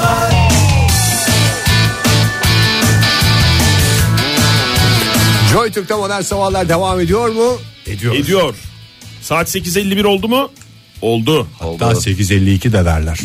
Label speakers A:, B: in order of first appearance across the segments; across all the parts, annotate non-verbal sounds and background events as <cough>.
A: sabahlar
B: Joy Türk'te modern sabahlar devam ediyor mu? Ediyor.
C: Ediyor. Saat 8.51 oldu mu? Oldu.
B: Hatta 8.52 de derler.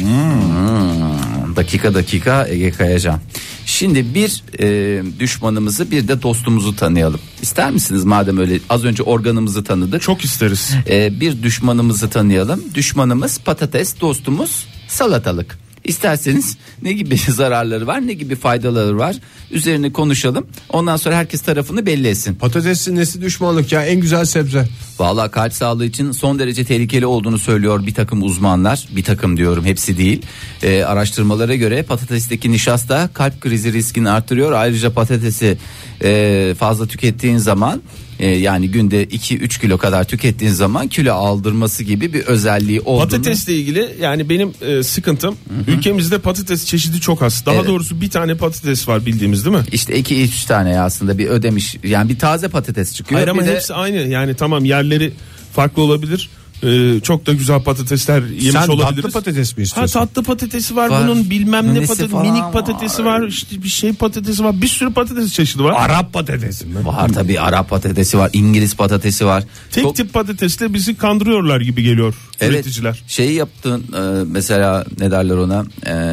D: Dakika dakika Ege Kayacan. Şimdi bir e, düşmanımızı bir de dostumuzu tanıyalım. İster misiniz madem öyle az önce organımızı tanıdık.
C: Çok isteriz.
D: E, bir düşmanımızı tanıyalım. Düşmanımız patates, dostumuz salatalık. İsterseniz ne gibi <laughs> zararları var, ne gibi faydaları var üzerine konuşalım. Ondan sonra herkes tarafını belli etsin.
B: Patatesin nesi düşmanlık ya en güzel sebze.
D: Vallahi kalp sağlığı için son derece tehlikeli olduğunu söylüyor bir takım uzmanlar. Bir takım diyorum hepsi değil. Ee, araştırmalara göre patatesteki nişasta kalp krizi riskini artırıyor. Ayrıca patatesi e, fazla tükettiğin zaman e, yani günde 2-3 kilo kadar tükettiğin zaman kilo aldırması gibi bir özelliği olduğunu.
C: Patatesle ilgili yani benim e, sıkıntım ülkemizde patates çeşidi çok az. Daha
D: Evet.
C: doğrusu bir tane patates var bildiğimiz değil mi?
D: İşte 2-3 tane ya aslında bir ödemiş yani bir taze patates çıkıyor.
C: Hayır ama
D: bir de-
C: hepsi aynı. Yani tamam yerleri farklı olabilir. E, çok da güzel patatesler yemiş
B: Sen
C: olabiliriz.
B: tatlı patates mi
C: Ha
B: istiyorsun?
C: tatlı patatesi var,
D: Var.
C: bunun bilmem ne
D: Nesi
C: patates,
D: falan
C: minik
D: var.
C: patatesi var. işte bir şey patatesi var. Bir sürü patates çeşidi var.
B: Arap patatesi mi?
D: Var tabii Arap patatesi var, İngiliz patatesi var.
C: Tek
D: Çok-
C: tip patatesle bizi kandırıyorlar gibi geliyor üreticiler.
D: Şeyi yaptın e, mesela ne derler ona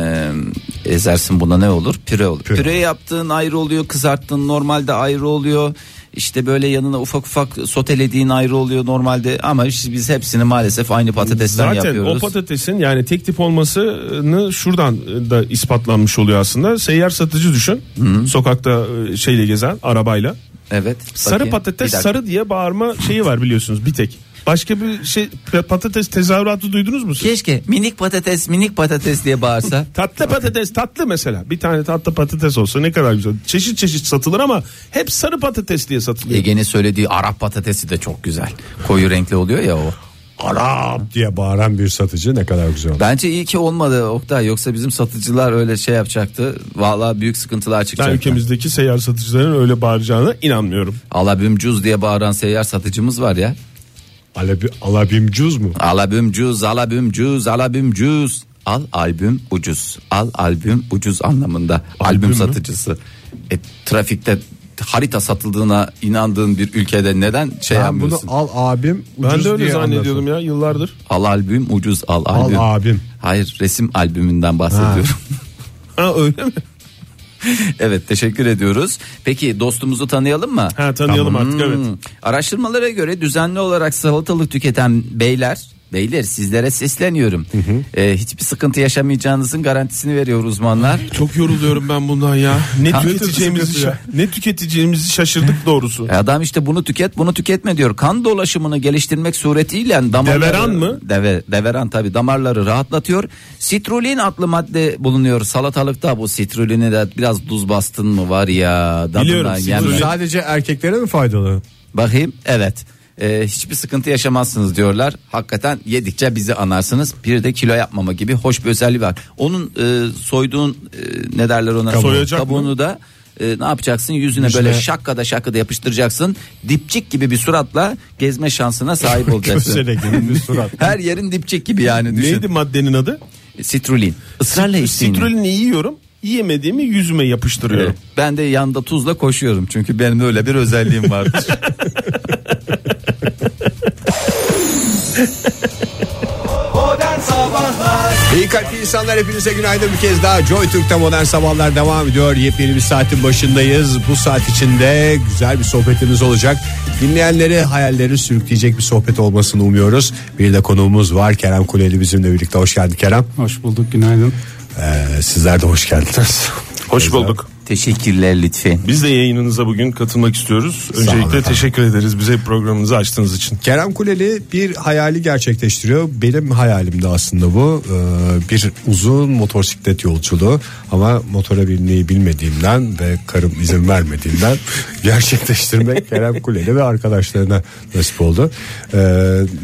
D: e, ezersin buna ne olur? Püre olur. Püre. yaptığın ayrı oluyor kızarttığın normalde ayrı oluyor. İşte böyle yanına ufak ufak sotelediğin ayrı oluyor normalde ama işte biz hepsini maalesef aynı patatesten
C: Zaten
D: yapıyoruz.
C: o patatesin yani tek tip olmasını şuradan e, da ispatlanmış oluyor aslında. Seyyar satıcı düşün. Sokakta e, şeyle gezen arabayla.
D: evet.
C: Sarı
D: bakayım.
C: patates
D: Bir dakika.
C: sarı diye bağırma şeyi var biliyorsunuz bir tek. Başka bir şey patates tezahüratı duydunuz mu siz?
D: Keşke minik patates minik patates
C: <laughs>
D: diye bağırsa.
C: Tatlı patates tatlı mesela. Bir tane tatlı patates olsa ne kadar güzel. Çeşit çeşit satılır ama hep sarı patates diye satılıyor.
D: Ege'nin söylediği Arap patatesi de çok güzel. Koyu renkli oluyor ya o.
B: Arap diye bağıran bir satıcı ne kadar güzel olur.
D: Bence iyi ki olmadı Oktay yoksa bizim satıcılar öyle şey yapacaktı. Vallahi büyük sıkıntılar
C: Ben
D: çıkacaktı.
C: ülkemizdeki seyyar satıcıların öyle bağıracağına inanmıyorum.
D: Alabim cuz diye bağıran seyyar satıcımız var ya.
B: Alabi, alabimcuz mu?
D: Alabim cuz, alabim cuz, alabim cuz. Al albüm ucuz. Al albüm ucuz anlamında. Albüm,
C: mü?
D: satıcısı. E, trafikte harita satıldığına inandığın bir ülkede neden şey
B: Ben bunu
D: yapmıyorsun?
B: al abim ucuz
C: Ben de öyle
B: diye
C: zannediyordum
B: anlatırım.
C: ya yıllardır.
D: Al albüm ucuz al
B: Al
D: albüm.
B: abim.
D: Hayır resim albümünden bahsediyorum.
C: Ha öyle mi?
D: <laughs> evet teşekkür ediyoruz. Peki dostumuzu tanıyalım mı?
C: Ha tanıyalım artık evet.
D: Hmm. Araştırmalara göre düzenli olarak salatalık tüketen beyler Beyler sizlere sesleniyorum. Ee, hiçbir sıkıntı yaşamayacağınızın garantisini veriyor uzmanlar.
C: Çok yoruluyorum ben bundan ya. <laughs> Ne tüketeceğimizi
B: sıkıntı ya.
C: şa- ne tüketeceğimizi şaşırdık doğrusu.
D: E, Adam işte bunu tüket bunu tüketme diyor. Kan dolaşımını geliştirmek suretiyle damarları...
C: Deveran mı?
D: Deve, deveran tabi damarları rahatlatıyor. Sitrulin adlı madde bulunuyor salatalıkta bu sitrulini de biraz tuz bastın mı var ya. tadından
C: Biliyorum,
D: yenmez.
C: sitrulin.
B: Sadece erkeklere mi faydalı?
D: Bakayım evet. Ee, hiçbir sıkıntı yaşamazsınız diyorlar. Hakikaten yedikçe bizi anarsınız. Bir de kilo yapmama gibi hoş bir özelliği var. Onun e, soyduğun e, ne derler ona?
C: Soyacak
D: Kabuğunu da e, ne yapacaksın? Yüzüne böyle şakkada şakkada yapıştıracaksın. Dipçik gibi bir suratla gezme şansına <laughs> sahip olacaksın.
B: Gösterek bir surat.
D: Her yerin dipçik gibi yani düşün.
C: Neydi maddenin adı?
D: Sitrulin. Israrla isteyin.
C: Sitrulini yiyorum. Yiyemediğimi yüzüme yapıştırıyorum.
D: Evet. Ben de yanda tuzla koşuyorum çünkü benim de öyle bir özelliğim <laughs> vardır.
A: Modern Sabahlar
B: İyi kalpli insanlar hepinize günaydın bir kez daha Joy Türk'te modern sabahlar devam ediyor Yepyeni bir saatin başındayız Bu saat içinde güzel bir sohbetimiz olacak Dinleyenleri hayalleri sürükleyecek bir sohbet olmasını umuyoruz Bir de konuğumuz var Kerem Kuleli bizimle birlikte Hoş geldin Kerem
E: Hoş bulduk günaydın.
B: Ee, Sizler de hoş geldiniz
C: Hoş bulduk.
D: Teşekkürler lütfen.
C: Biz de yayınınıza bugün katılmak istiyoruz. Öncelikle teşekkür ederiz bize programımızı açtığınız için.
B: Kerem Kuleli bir hayali gerçekleştiriyor. Benim hayalim de aslında bu. Ee, bir uzun motosiklet yolculuğu ama motora binmeyi bilmediğimden ve karım izin vermediğinden <laughs> gerçekleştirmek Kerem Kuleli ve arkadaşlarına nasip oldu. Ee,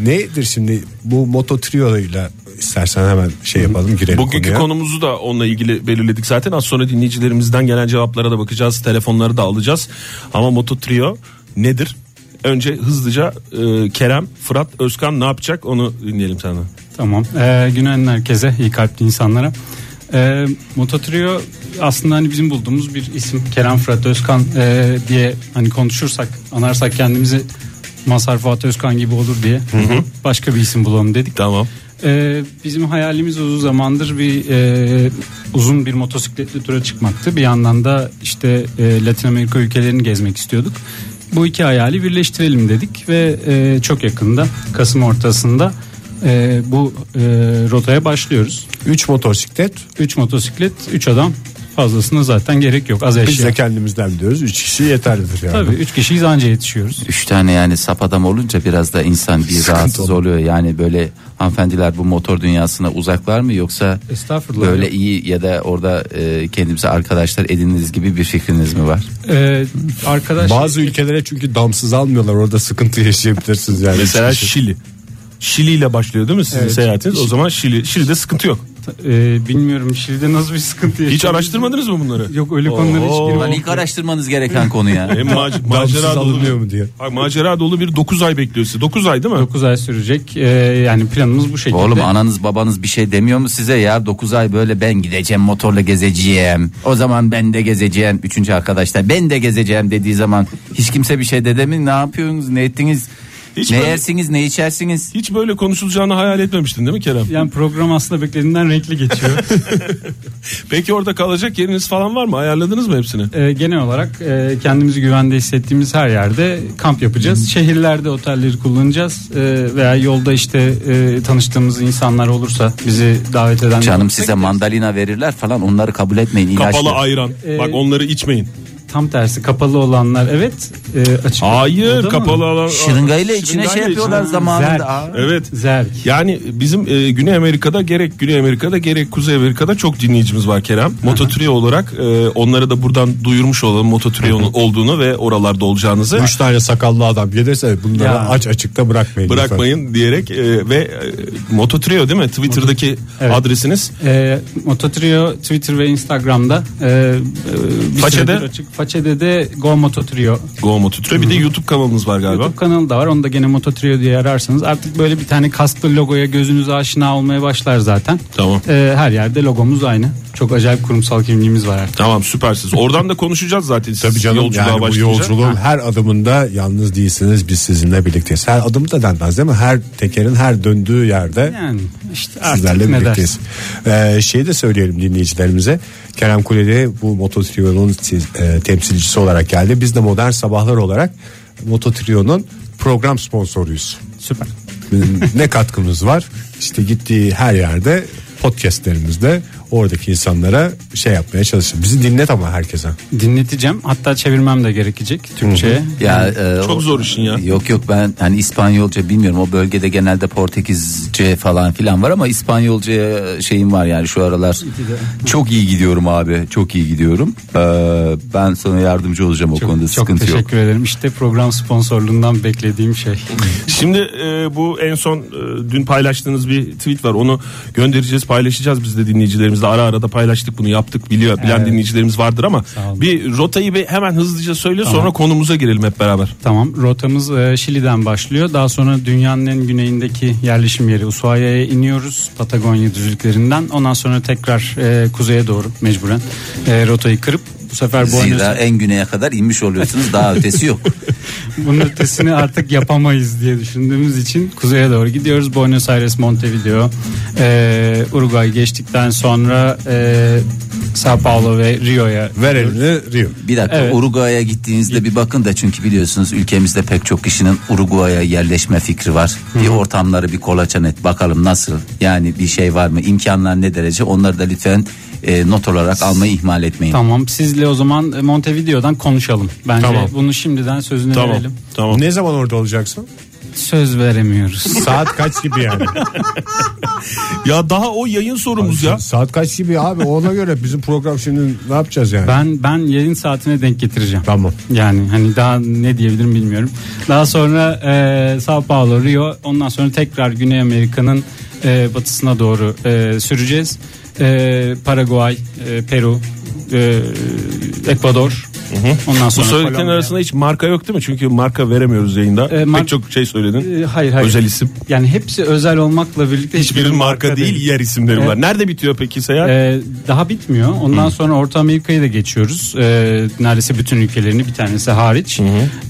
B: nedir şimdi bu moto ile istersen hemen şey yapalım girelim
C: Bugünkü
B: konuya.
C: konumuzu da onunla ilgili belirledik zaten. Az sonra dinleyicilerimizden gelen cevaplara da bakacağız. Telefonları da alacağız. Ama Moto Trio nedir? Önce hızlıca e, Kerem, Fırat, Özkan ne yapacak onu dinleyelim senden.
E: Tamam. Ee, günaydın herkese, iyi kalpli insanlara. E, Mototrio aslında hani bizim bulduğumuz bir isim Kerem Fırat Özkan e, diye hani konuşursak anarsak kendimizi Mazhar Fuat Özkan gibi olur diye başka bir isim bulalım dedik.
C: Tamam.
E: E, bizim hayalimiz uzun zamandır bir e, uzun bir motosikletli tura çıkmaktı. Bir yandan da işte e, Latin Amerika ülkelerini gezmek istiyorduk. Bu iki hayali birleştirelim dedik ve e, çok yakında Kasım ortasında e, bu e, rotaya başlıyoruz.
B: 3 motosiklet
E: 3 motosiklet 3 adam fazlasına zaten gerek yok az eşya.
B: biz de kendimizden biliyoruz 3 kişi yeterlidir yani.
E: Tabii 3 kişiyiz anca yetişiyoruz.
D: Üç tane yani sap adam olunca biraz da insan bir rahatsız oluyor. Yani böyle hanımefendiler bu motor dünyasına uzaklar mı yoksa
E: Estağfurullah.
D: böyle iyi ya da orada e, kendimize arkadaşlar ediniriz gibi bir fikriniz mi var?
E: Ee, arkadaş
B: Bazı ülkelere çünkü damsız almıyorlar orada sıkıntı yaşayabilirsiniz yani. şey.
C: Mesela
B: Üç kişi.
C: Şili. Şili ile başlıyor değil mi sizin seyahatiniz? O zaman Şili. Şili'de sıkıntı yok.
E: e, bilmiyorum Şili'de nasıl bir sıkıntı
C: Hiç
E: yaşıyor.
C: araştırmadınız mı bunları?
E: Yok, öyle konulara hiç
C: Oo.
E: girmedim.
D: Lan ilk araştırmanız gereken konu ya.
C: Hem mac-
B: Damsız
C: macera dolu
B: alınıyor mu diye.
C: Ha, macera dolu bir 9 ay bekliyor sizi. 9 ay değil mi?
E: 9 ay sürecek. Ee, yani planımız bu
D: <laughs>
E: şekilde.
D: Oğlum ananız babanız bir şey demiyor mu size ya 9 ay böyle ben gideceğim motorla gezeceğim o zaman ben de gezeceğim üçüncü arkadaşlar ben de gezeceğim dediği zaman hiç kimse bir şey dedi mi ne yapıyorsunuz ne ettiniz
C: Hiç
D: ne
C: böyle-
D: yersiniz ne içersiniz
C: Hiç böyle konuşulacağını hayal etmemiştin değil mi Kerem?
E: yani program aslında beklediğinden
D: <laughs>
E: renkli geçiyor.
C: Peki orada kalacak yeriniz falan var mı? Ayarladınız mı hepsini?
E: Ee, genel olarak e, kendimizi güvende hissettiğimiz her yerde kamp yapacağız. Şehirlerde otelleri kullanacağız Ee, veya yolda işte e, tanıştığımız insanlar olursa bizi davet eden
D: canım size mandalina verirler falan onları kabul etmeyin ilaçtır.
C: Kapalı ayran.
E: Ee,
C: Bak onları içmeyin.
E: tam tersi kapalı olanlar evet e, açık.
C: Hayır
E: Orada mı?
C: kapalı alan.
D: Şırıngayla içine şey yapıyorlar
E: Zerk.
D: zamanında. Aa.
C: Evet.
E: Zerk.
C: Yani bizim e, Güney Amerika'da gerek Güney Amerika'da gerek Kuzey Amerika'da çok dinleyicimiz var Kerem. Mototrio olarak e, onlara da buradan duyurmuş olalım Mototrio'nun olduğunu ve oralarda olacağınızı
B: Üç tane sakallı adam gelirse bunları
E: Ya.
B: aç açıkta bırakmayın. lütfen.
C: bırakmayın diyerek e, ve e, Mototrio değil mi? Twitter'daki
E: Evet.
C: adresiniz.
E: E, Mototrio Twitter ve Instagram'da e, e, bir
C: Façede?
E: süredir açık. Façede de Go Mototrio
C: Go Mototrio. Bir de YouTube kanalınız var galiba.
E: YouTube kanalı da var. Onu da gene Mototrio diye ararsanız artık böyle bir tane kasklı logoya gözünüz aşina olmaya başlar zaten.
C: Tamam.
E: E, her yerde logomuz aynı. Çok acayip kurumsal kimliğimiz var artık.
C: Tamam süpersiniz. Oradan da konuşacağız zaten. siz
B: Tabii canım
C: yolculuğa
B: yani bu
C: başlayınca.
B: yolculuğun her adımında yalnız değilsiniz biz sizinle birlikteyiz. Her adımı da denmez değil mi? Her tekerin her döndüğü yerde
E: Yani işte
B: sizlerle
E: artık ne dersin.
B: birlikteyiz. Ee, şeyi de söyleyelim dinleyicilerimize. Kerem Kuleli bu Mototrio'nun siz- e, temsilcisi olarak geldi. Biz de Modern Sabahlar olarak Mototrio'nun program sponsoruyuz.
E: Süper.
B: Bizim <laughs> ne katkımız var? İşte gittiği her yerde podcastlerimizde oradaki insanlara şey yapmaya çalışır. Bizi dinlet ama herkese.
E: Dinleteceğim. Hatta çevirmem de gerekecek Türkçe'ye.
D: Ya, e,
C: Çok
D: o-
C: zor işin ya.
D: Yok yok ben hani İspanyolca bilmiyorum. O bölgede genelde Portekizce falan filan var ama İspanyolca şeyim var yani şu aralar. Çok iyi gidiyorum abi. Çok iyi gidiyorum. Ee, ben sana yardımcı olacağım o
E: Çok,
D: konuda
E: çok
D: sıkıntı yok.
E: teşekkür ederim. İşte program sponsorluğundan beklediğim şey.
C: Şimdi e, bu en son e, dün paylaştığınız bir tweet var. Onu göndereceğiz, paylaşacağız biz de dinleyicilerimizle. Ara ara da paylaştık bunu yaptık. Biliyor, bilen dinleyicilerimiz vardır ama
E: Sağ olun.
C: bir rotayı bir hemen hızlıca söyle sonra konumuza girelim hep beraber.
E: Tamam rotamız e, Şili'den başlıyor. Daha sonra dünyanın en güneyindeki yerleşim yeri Ushuaia'ya iniyoruz. Patagonya düzlüklerinden. Ondan sonra tekrar e, kuzeye doğru mecburen e, rotayı kırıp bu sefer Buenos
D: Zira en güneye kadar inmiş oluyorsunuz. Daha ötesi yok.
E: <laughs> bunun ötesini artık yapamayız diye düşündüğümüz için kuzeye doğru gidiyoruz. Buenos Aires, Montevideo, e, Uruguay geçtikten sonra e, Sao Paulo ve Rio'ya
B: Ver elini Rio.
D: Bir dakika
E: Evet.
D: Uruguay'a gittiğinizde bir bakın da çünkü biliyorsunuz ülkemizde pek çok kişinin Uruguay'a yerleşme fikri var. Bir ortamları bir kolaçan et bakalım nasıl yani bir şey var mı imkanlar ne derece onları da lütfen e, not olarak almayı ihmal etmeyin.
E: Tamam sizle o zaman e, Montevideo'dan konuşalım. Bence
C: Tamam.
E: bunu şimdiden sözünü
C: Tamam.
E: verelim.
C: Tamam.
B: Ne zaman orada olacaksın?
E: Söz veremiyoruz.
B: Saat kaç gibi
E: <laughs>
B: yani?
C: Ya daha o yayın sorumuz ya.
B: Saat kaç gibi abi ona göre bizim program şimdi ne yapacağız yani?
E: Ben ben yayın saatine denk getireceğim.
B: Tamam.
E: Yani hani daha ne diyebilirim bilmiyorum. Daha sonra e, Sao Paulo, Rio. Ondan sonra tekrar Güney Amerika'nın e, batısına doğru e, süreceğiz. E, Paraguay, e, Peru, e, Ekvador, Ondan
C: Bu
E: sonra
C: söylediklerin
E: Kolombiya.
C: arasında hiç marka yok değil mi? Çünkü marka veremiyoruz yayında.
E: Ee, mar-
C: Pek çok şey söyledin.
E: E, hayır hayır.
C: Özel isim.
E: Yani hepsi özel olmakla birlikte
C: Hiçbirinin marka, değil, yer isimleri
E: Evet.
C: var. Nerede bitiyor peki seyahat?
E: Ee, daha bitmiyor. Ondan sonra Orta Amerika'yı da geçiyoruz. Ee, neredeyse bütün ülkelerini bir tanesi hariç.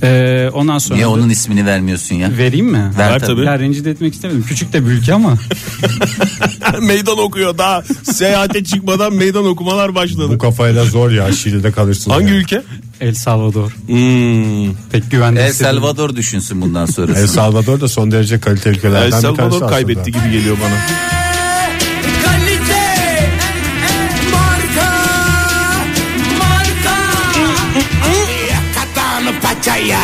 E: Ee, ondan sonra
D: Niye
E: da-
D: onun ismini vermiyorsun ya?
E: vereyim mi?
D: Ver
C: Ver
D: tabii.
C: tabii.
E: Ya rencide etmek istemedim. Küçük de bir ülke ama.
C: <laughs> meydan okuyor daha seyahate çıkmadan meydan okumalar başladı.
B: Bu kafayla zor ya Şili'de kalırsın.
C: Hangi
B: ya.
C: ülke?
E: El Salvador.
C: Hmm.
E: Pek güvende
D: El
E: hissediyorum.
D: Salvador düşünsün bundan
B: El
D: sonrasını.
B: Salvador da son derece kaliteli ülkelerden
C: El
B: bir tanesi aslında.
C: Salvador kaybetti gibi geliyor bana.
A: Kalite marka marka Yakatan paçaya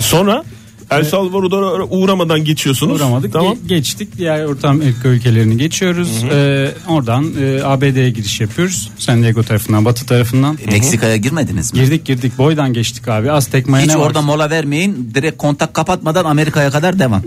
C: Sonra El Salvador'a uğramadan geçiyorsunuz.
E: Uğramadık.
C: Tamam.
E: Ge- geçtik. Diğer Orta Amerika ülkelerini geçiyoruz. Ee, oradan e, ABD'ye giriş yapıyoruz. San Diego tarafından, batı tarafından.
D: Meksika'ya girmediniz mi?
E: Girdik girdik. Boydan geçtik abi. Aztek Maya
D: Hiç
E: ne
D: orada
E: var?
D: mola vermeyin. Direkt kontak kapatmadan Amerika'ya kadar devam.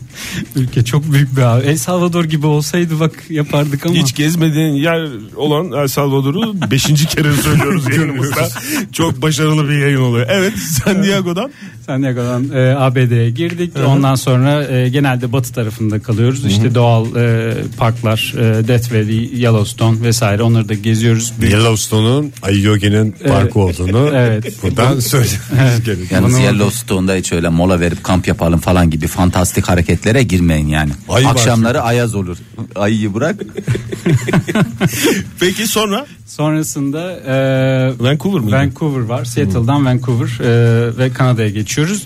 E: Ülke çok büyük bir abi. El Salvador gibi olsaydı bak yapardık ama.
C: Hiç gezmediğin yer olan El Salvador'u 5. kere
B: <laughs>
C: söylüyoruz yayınımızda. Çok başarılı bir yayın oluyor. Evet San Diego'dan.
E: San Diego'dan e, ABD'ye girdik. Ondan sonra e, genelde batı tarafında kalıyoruz. İşte doğal e, parklar, e, Death Valley, Yellowstone vesaire onları da geziyoruz.
B: Yellowstone'un Ayoge'nin parkı olduğunu
E: <laughs> Evet.
B: buradan söylememiz gerekiyor.
D: Yalnız
E: Bunu-
D: Yellowstone'da hiç öyle mola verip kamp yapalım falan gibi fantastik hareketlere girmeyin yani.
B: Ayı var
D: Akşamları ayaz olur. Ayıyı bırak.
C: Peki sonra
E: Sonrasında e,
C: Vancouver mıydı?
E: Vancouver var. Seattle'dan Vancouver e, ve Kanada'ya geçiyoruz.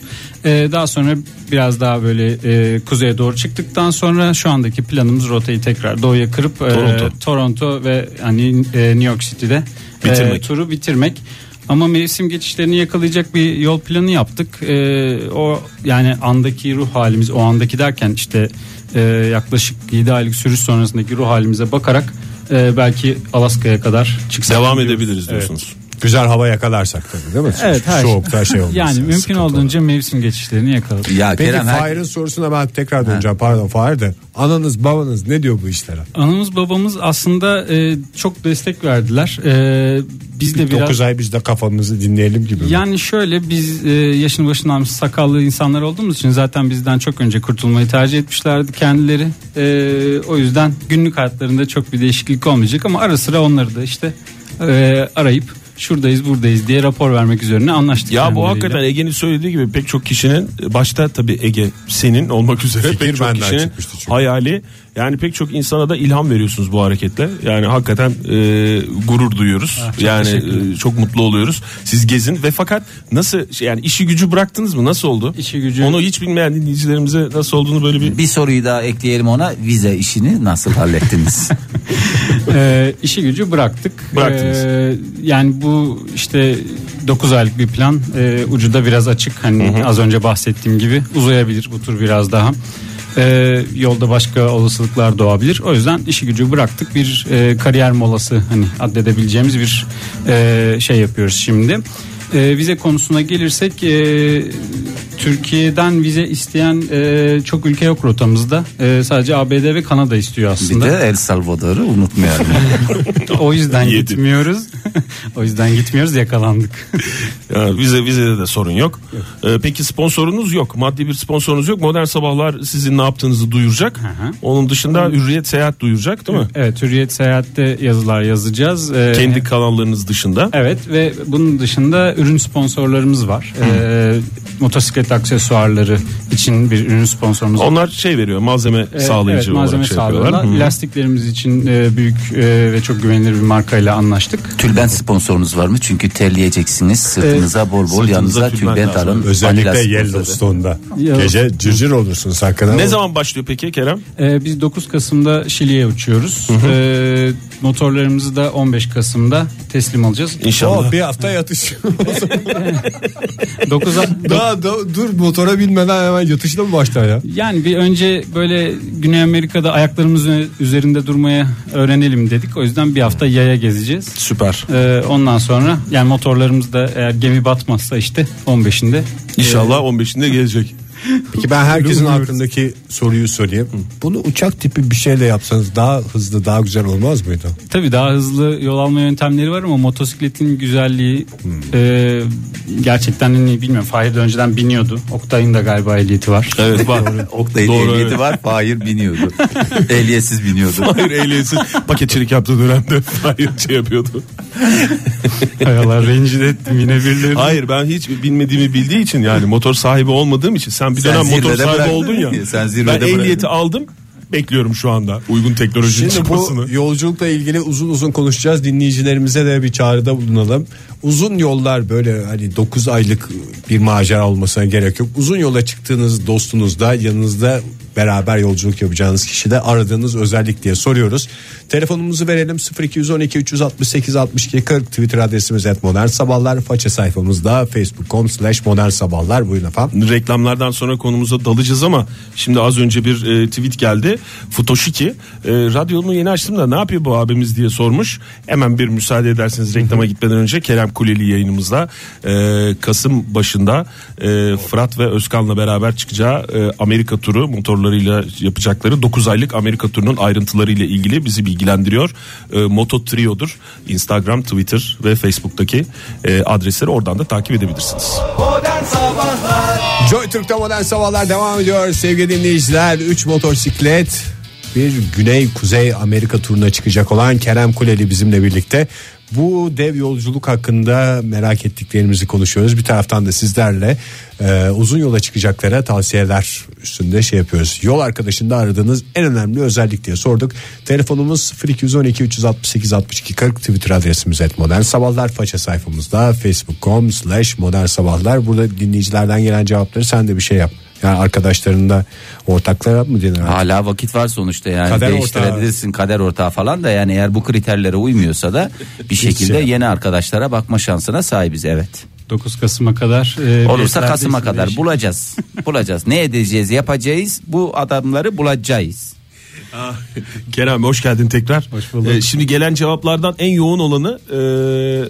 E: E, daha sonra biraz daha böyle e, kuzeye doğru çıktıktan sonra şu andaki planımız rotayı tekrar doğuya kırıp e,
C: Toronto.
E: Toronto ve hani e, New York City'de e,
C: Bitirmek.
E: turu bitirmek. Ama mevsim geçişlerini yakalayacak bir yol planı yaptık. E, o yani andaki ruh halimiz, o andaki derken işte e, yaklaşık 7 aylık sürüş sonrasındaki ruh halimize bakarak e, belki Alaska'ya kadar çıksak
C: devam
E: diyoruz.
C: edebiliriz
E: Evet.
C: diyorsunuz.
B: Güzel hava yakalarsak tabii değil mi?
E: Evet, her şey.
B: Soğukta şey olmaz.
E: Yani mümkün
B: sıkıntı olmaz.
E: olduğunca mevsim geçişlerini yakaladık.
D: Ya
B: Peki
D: Kerem her-
B: Fahir'in sorusuna ben tekrar döneceğim. Pardon Fahir de. Ananız babanız ne diyor bu işlere?
E: Anamız babamız aslında e, çok destek verdiler. E, biz de biraz
B: 9 ay biz de kafamızı dinleyelim gibi. mi?
E: yani şöyle biz e, yaşını başına almış sakallı insanlar olduğumuz için zaten bizden çok önce kurtulmayı tercih etmişlerdi kendileri. E, o yüzden günlük hayatlarında çok bir değişiklik olmayacak ama ara sıra onları da işte e, arayıp şuradayız buradayız diye rapor vermek üzerine anlaştık.
C: Ya bu
E: kendileriyle.
C: hakikaten Ege'nin söylediği gibi pek çok kişinin başta tabii Ege senin olmak üzere
B: Fikir
C: pek çok
B: benden
C: kişinin
B: çıkmıştı çünkü.
C: hayali yani pek çok insana da ilham veriyorsunuz bu hareketle. Yani hakikaten e, gurur duyuyoruz.
E: Ah,
C: yani e, çok mutlu oluyoruz. Siz gezin ve fakat nasıl şey, yani işi gücü bıraktınız mı? Nasıl oldu?
E: İşi gücü-
C: Onu hiç bilmeyen dinleyicilerimize nasıl olduğunu böyle bir
D: bir soruyu daha ekleyelim ona. Vize işini
C: <laughs>
D: nasıl hallettiniz?
E: Ee, işi gücü bıraktık.
C: Bıraktınız.
E: Ee, yani bu işte 9 aylık bir plan. Ee, ucu da biraz açık. Hani az önce bahsettiğim gibi uzayabilir bu tur biraz daha. Ee, yolda başka olasılıklar doğabilir. O yüzden işi gücü bıraktık. Bir e, kariyer molası hani addedebileceğimiz bir e, şey yapıyoruz şimdi. Ee, vize konusuna gelirsek e, Türkiye'den vize isteyen e, çok ülke yok rotamızda. E, sadece ABD ve Kanada istiyor
D: bir
E: aslında.
D: de El
C: <laughs>
D: Salvador'u unutmayalım.
E: O yüzden
C: Yedim.
E: gitmiyoruz. <laughs> o yüzden gitmiyoruz yakalandık. <laughs>
C: Ya vize vizede de sorun yok. Ee, peki sponsorunuz yok. Maddi bir sponsorunuz yok. Modern Sabahlar sizin ne yaptığınızı duyuracak.
E: hı.
C: Onun dışında Hürriyet Seyahat duyuracak değil mi?
E: evet Hürriyet Seyahat'te yazılar yazacağız. Ee,
C: Kendi kanallarınız dışında.
E: Evet ve bunun dışında ürün sponsorlarımız var. Ee, motosiklet aksesuarları için bir ürün sponsorumuz var.
C: Onlar şey veriyor malzeme
E: Ee,
C: sağlayıcı
E: evet, malzeme
C: olarak şey yapıyorlar.
E: sağlıyorlar.
C: Hı.
E: Lastiklerimiz için e, büyük e, ve çok güvenilir bir markayla anlaştık.
D: tülbent sponsorunuz var mı? Çünkü terleyeceksiniz. Sırtınıza bol bol
C: sırtınıza
D: yanınıza
C: tülbent
D: tülbent
C: lazım.
D: alın.
B: Özellikle
D: Adidas sponsoru.
B: Yellowstone'da.
E: Ya.
B: Gece cırcır olursunuz hakikaten.
C: Ne
B: ama
C: zaman başlıyor peki Kerem?
E: Ee, biz 9 Kasım'da Şili'ye uçuyoruz. Ee, motorlarımızı da 15 Kasım'da teslim alacağız.
C: İnşallah.
B: Oh, bir hafta yatış.
E: 9
B: Daha da- dur motora binmeden hemen yatışla mı başlar ya?
E: Yani bir önce böyle Güney Amerika'da ayaklarımızın üzerinde durmaya öğrenelim dedik. O yüzden bir hafta yaya gezeceğiz.
C: Süper.
E: Ee, ondan sonra yani motorlarımız da eğer gemi batmazsa işte 15'inde
C: Ee, İnşallah 15'inde gelecek.
B: Peki ben herkesin aklındaki soruyu sorayım. Bunu uçak tipi bir şeyle yapsanız daha hızlı daha güzel olmaz mıydı?
E: Tabii daha hızlı yol alma yöntemleri var ama motosikletin güzelliği
D: Hmm.
E: e, gerçekten hani bilmiyorum. Fahir de önceden biniyordu. Oktay'ın da galiba ehliyeti var.
C: Evet var.
D: <laughs> Oktay'ın
C: Doğru,
D: ehliyeti
C: evet.
D: var. Fahir
C: <laughs>
D: biniyordu. Ehliyetsiz biniyordu.
C: <laughs> Hayır ehliyetsiz paketçilik yaptığı dönemde <laughs> hayır şey yapıyordu.
E: Hay Allah rencide ettim yine birileri.
C: Hayır ben hiç bilmediğimi bildiği için yani motor sahibi olmadığım için sen bir
D: Sen
C: dönem motor
D: zirvede
C: sahibi
D: bıraktın.
C: oldun ya.
D: Sen
C: ben
D: zirvede
C: ehliyeti
D: bıraktın.
C: aldım bekliyorum şu anda uygun teknolojinin
B: Şimdi
C: çıkmasını.
B: bu yolculukla ilgili uzun uzun konuşacağız. Dinleyicilerimize de bir çağrıda bulunalım. Uzun yollar böyle hani 9 aylık bir macera olmasına gerek yok. Uzun yola çıktığınız dostunuzda yanınızda beraber yolculuk yapacağınız kişi de aradığınız özellik diye soruyoruz. Telefonumuzu verelim 0212 368 62 40 Twitter adresimiz et sabahlar. Faça sayfamızda facebook.com slash modern sabahlar. Buyurun efendim.
C: reklamlardan sonra konumuza dalacağız ama şimdi az önce bir e, tweet geldi. Futoshiki e, radyomu yeni açtım da ne yapıyor bu abimiz diye sormuş. Hemen bir müsaade ederseniz reklama gitmeden önce Kerem Kuleli yayınımızda e, Kasım başında e, Fırat ve Özkan'la beraber çıkacağı e, Amerika turu motorlarıyla yapacakları 9 aylık Amerika turunun ayrıntılarıyla ilgili bizi bilgilendiriyor. E, Moto Trio'dur. Instagram, Twitter ve Facebook'taki e, adresleri oradan da takip edebilirsiniz.
A: Modern Sabahlar
B: Joy Türk'te modern sabahlar devam ediyor sevgili dinleyiciler. 3 motosiklet bir Güney Kuzey Amerika turuna çıkacak olan Kerem Kuleli bizimle birlikte. Bu dev yolculuk hakkında merak ettiklerimizi konuşuyoruz. Bir taraftan da sizlerle e, uzun yola çıkacaklara tavsiyeler üstünde şey yapıyoruz. Yol arkadaşında aradığınız en önemli özellik diye sorduk. Telefonumuz 0212 368 62 40 Twitter adresimiz et modern sabahlar faça sayfamızda facebook.com slash modern sabahlar. Burada dinleyicilerden gelen cevapları sen de bir şey yap. Yani arkadaşlarında ortaklara mı denir? artık?
D: Hala vakit var sonuçta yani
B: Kader
D: değiştirebilirsin kader ortağı falan da yani eğer bu kriterlere uymuyorsa da bir şekilde
B: şey.
D: yeni arkadaşlara bakma şansına sahibiz evet.
E: 9 Kasım'a kadar. e,
D: Olursa
E: biletlerde
D: Kasım'a
E: işte
D: kadar
E: değişik.
D: bulacağız. bulacağız. Ne edeceğiz, yapacağız. Bu adamları bulacağız.
C: Kerem hoş geldin tekrar.
E: Hoş bulduk.
C: Ee, şimdi gelen cevaplardan en yoğun olanı e,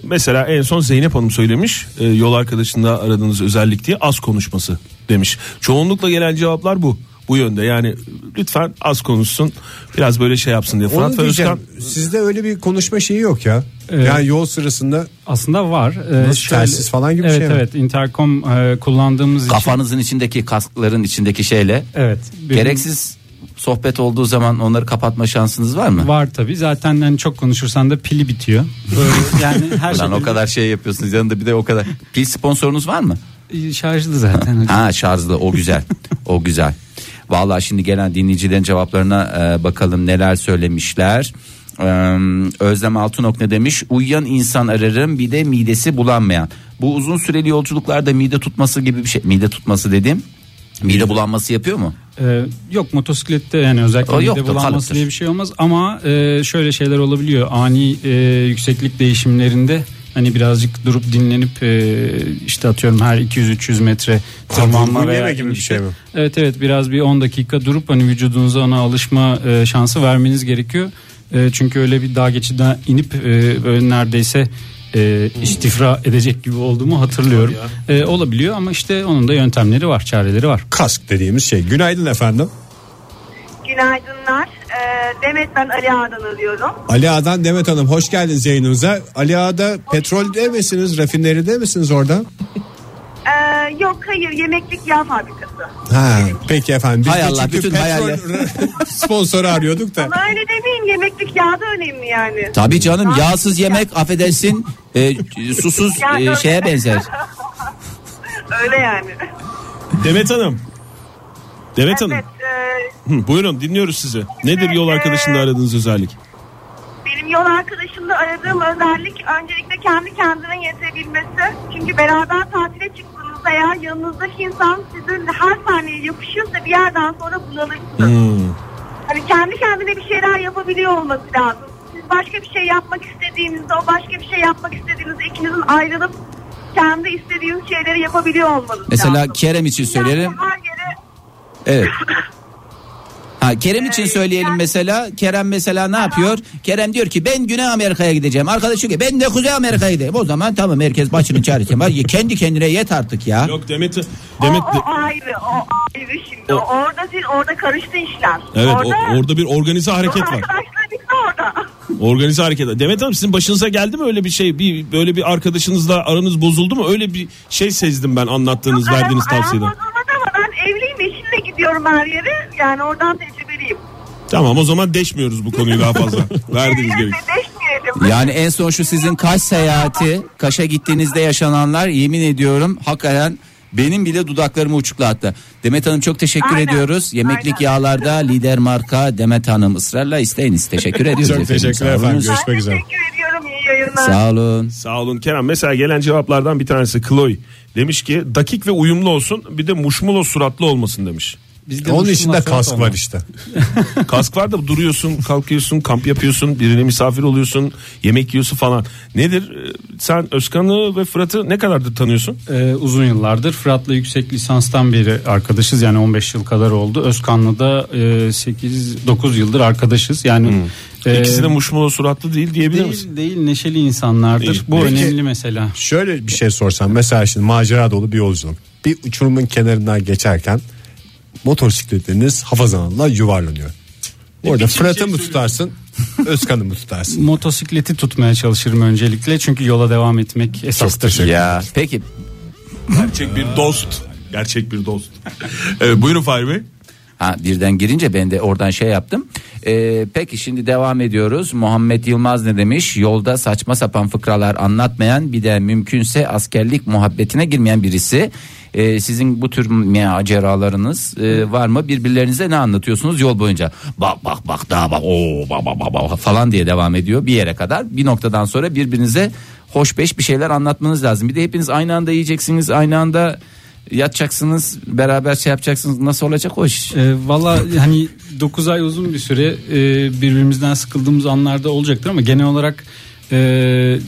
C: mesela en son Zeynep Hanım söylemiş. E, yol arkadaşında aradığınız özellik diye az konuşması demiş. Çoğunlukla gelen cevaplar bu. Bu yönde yani lütfen az konuşsun biraz böyle şey yapsın diye.
B: Onu
C: Fırat ve
B: diyeceğim.
C: Özkan <clears throat>
B: Sizde öyle bir konuşma şeyi yok ya.
E: Evet.
B: Yani yol sırasında
E: Aslında var. E,
B: Nasıl, telsiz falan gibi bir
E: evet,
B: şey mi?
E: Evet intercom e, kullandığımız için.
D: Kafanızın içindeki kaskların içindeki şeyle
E: Evet. bir-
D: gereksiz sohbet olduğu zaman onları kapatma şansınız var mı?
E: Var tabi zaten hani çok konuşursan da pili bitiyor. Böyle yani
B: <laughs>
E: her şey
D: Ulan o kadar şey yapıyorsunuz yanında bir de o kadar. Pil sponsorunuz var mı?
E: şarjlı zaten. hocam.
D: Ha şarjlı o güzel. o güzel. Vallahi şimdi gelen dinleyicilerin cevaplarına e, bakalım neler söylemişler. Ee, Özlem Altunok ne demiş? Uyuyan insan ararım bir de midesi bulanmayan. Bu uzun süreli yolculuklarda mide tutması gibi bir şey. Mide tutması dediğim mide bulanması yapıyor mu?
E: Ee, yok motosiklette yani özellikle
D: O
E: mide
D: yoktur,
E: bulanması
D: kalıptır.
E: diye bir şey olmaz ama e, şöyle şeyler olabiliyor ani e, yükseklik değişimlerinde hani birazcık durup dinlenip e, işte atıyorum her 200-300 metre tırmanma
B: vurgun
E: veya
B: yeme gibi bir
E: inişte-
B: şey mi?
E: Evet evet biraz bir 10 dakika durup hani vücudunuza ona alışma e, şansı vermeniz gerekiyor. E, çünkü öyle bir dağ geçiden inip e, böyle neredeyse e, istifra edecek gibi olduğumu hatırlıyorum. E, olabiliyor ama işte onun da yöntemleri var, çareleri var.
B: kask dediğimiz şey. Günaydın efendim.
F: Günaydınlar. Ee, Demet ben Ali Ağa'dan arıyorum.
B: Ali Ağa'dan Demet Hanım hoş geldiniz yayınımıza. Ali Ağa'da petrolde misiniz, rafineride misiniz orada?
F: Ee, yok hayır yemeklik yağ fabrikası.
B: Ha, peki efendim. Biz
D: Hay
B: de
D: Allah,
B: çünkü
D: bütün
B: petrol
D: hayaller.
B: <laughs> sponsoru arıyorduk da.
F: Ama öyle demeyin yemeklik yağ da önemli yani.
D: Tabii canım yağsız yemek affedersin e, susuz e, şeye benzer.
F: Öyle yani.
C: Demet Hanım. Demet Hanım.
F: Evet e,
C: Hı, buyurun dinliyoruz sizi. Nedir yol arkadaşında aradığınız özellik?
F: benim yol arkadaşımda aradığım özellik öncelikle kendi kendine yetebilmesi. Çünkü beraber tatile çıktığınızda eğer yanınızdaki insan sizin her saniye yapışıyorsa bir yerden sonra bunalırsınız.
C: Hmm.
F: Hani kendi kendine bir şeyler yapabiliyor olması lazım. Siz başka bir şey yapmak istediğinizde, o başka bir şey yapmak istediğinizde ikinizin ayrılıp kendi istediğiniz şeyleri yapabiliyor olmanız lazım.
D: Mesela Kerem için
F: Yani <laughs>
D: söylerim.
F: her yere-
D: Evet. Ha Ha, Kerem için
F: Ee,
D: söyleyelim
F: yani-
D: mesela. Kerem mesela ne yapıyor? Kerem diyor ki ben Güney Amerika'ya gideceğim. Arkadaşı diyor ki ben de Kuzey Amerika'ya gideyim. O zaman tamam herkes başının çaresine var. Ya Kendi kendine yet artık ya.
C: Yok Demet Demet
F: o, o ayrı, o ayrı şimdi.
C: O-
F: Orada değil, orada karıştı işler.
C: Evet
F: orada,
C: o- orada bir organize hareket var.
F: Arkadaşlar bitti orada.
C: Organize hareket. Demet Hanım sizin başınıza geldi mi öyle bir şey? Bir böyle bir arkadaşınızla aranız bozuldu mu? Öyle bir şey sezdim ben anlattığınız, verdiğiniz
F: Aram- aram
C: tavsiyeden.
F: bozulmadı ama ben evliyim, eşimle gidiyorum her yere. Yani oradan tecrübeliyim.
C: Tamam o zaman deşmiyoruz bu konuyu daha fazla. Verdiğiniz
F: Biz
C: gibi.
F: de deşmeyelim.
D: Yani en son şu sizin Kaş seyahati, Kaş'a gittiğinizde yaşananlar yemin ediyorum hakikaten benim bile dudaklarımı uçuklattı. Demet Hanım çok teşekkür
F: Aynen.
D: ediyoruz. Yemeklik
F: Aynen.
D: yağlarda lider marka Demet Hanım ısrarla isteyiniz. <laughs> Teşekkür ediyoruz.
B: Çok
D: efendim.
B: teşekkürler
D: Sağ olun.
B: efendim.
F: Ben
B: Görüşmek üzere.
F: teşekkür ediyorum. İyi yayınlar.
D: Sağ olun.
C: Sağ olun Kerem. Mesela gelen cevaplardan bir tanesi Chloe. Demiş ki dakik ve uyumlu olsun bir de muşmulo suratlı olmasın demiş.
E: Bizde
B: Onun
E: Müslüman
B: içinde
E: surat
B: kask var
E: olmaz.
B: işte.
C: Kask var da duruyorsun, kalkıyorsun, kamp yapıyorsun, birine misafir oluyorsun, yemek yiyorsun falan. Nedir? Ee, Sen Özkan'ı ve Fırat'ı ne kadardır tanıyorsun?
E: Ee, uzun yıllardır Fırat'la yüksek lisanstan beri arkadaşız yani 15 yıl kadar oldu. Özkan'la da 8-9 yıldır arkadaşız yani. e,
C: Hmm. İkisi de muşmulo suratlı değil diyebilir misin?
E: değil, değil neşeli insanlardır.
C: Değil.
E: Bu
B: Peki-
E: önemli mesela.
B: Şöyle bir şey sorsam mesela şimdi macera dolu bir yolculuk. Bir uçurumun kenarından geçerken motosikletiniz hafazanla yuvarlanıyor. Orada Fırat'ı mı tutarsın Özkan'ı mı tutarsın?
E: Motosikleti tutmaya çalışırım öncelikle çünkü yola devam etmek esastır.
D: Ya peki
C: Gerçek bir dost. Gerçek bir dost. evet, buyurun Fahri Bey.
D: Ha birden girince ben de oradan şey yaptım. Ee, peki şimdi devam ediyoruz. Muhammed Yılmaz ne demiş? Yolda saçma sapan fıkralar anlatmayan bir de mümkünse askerlik muhabbetine girmeyen birisi. Ee, sizin bu tür maceralarınız e, var mı? Birbirlerinize ne anlatıyorsunuz yol boyunca? Bak bak bak daha bak o bak bak bak, bak falan diye devam ediyor bir yere kadar. Bir noktadan sonra birbirinize hoş beş bir şeyler anlatmanız lazım. Bir de hepiniz aynı anda yiyeceksiniz, aynı anda yatacaksınız beraber şey yapacaksınız nasıl olacak o iş?
E: E, Valla hani 9 ay uzun bir süre e, birbirimizden sıkıldığımız anlarda olacaktır ama genel olarak e,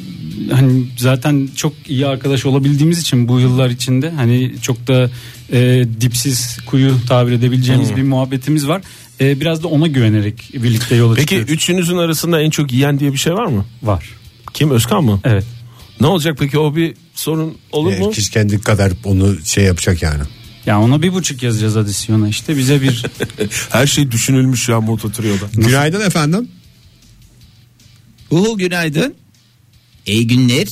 E: hani zaten çok iyi arkadaş olabildiğimiz için bu yıllar içinde hani çok da e, dipsiz kuyu tabir edebileceğimiz bir muhabbetimiz var. E, biraz da ona güvenerek birlikte yola
C: Peki
E: çıkıyoruz.
C: üçünüzün arasında en çok yiyen diye bir şey var mı?
E: var.
C: Kim Özkan mı?
E: Evet.
C: Ne olacak peki o bir sorun olur mu?
B: Herkes kendi E, kadar onu şey yapacak yani.
E: Ya ona bir buçuk yazacağız adisyona işte bize bir
C: Her şey düşünülmüş ya mototriyoda.
B: Günaydın efendim.
D: Uhu günaydın. İyi günler.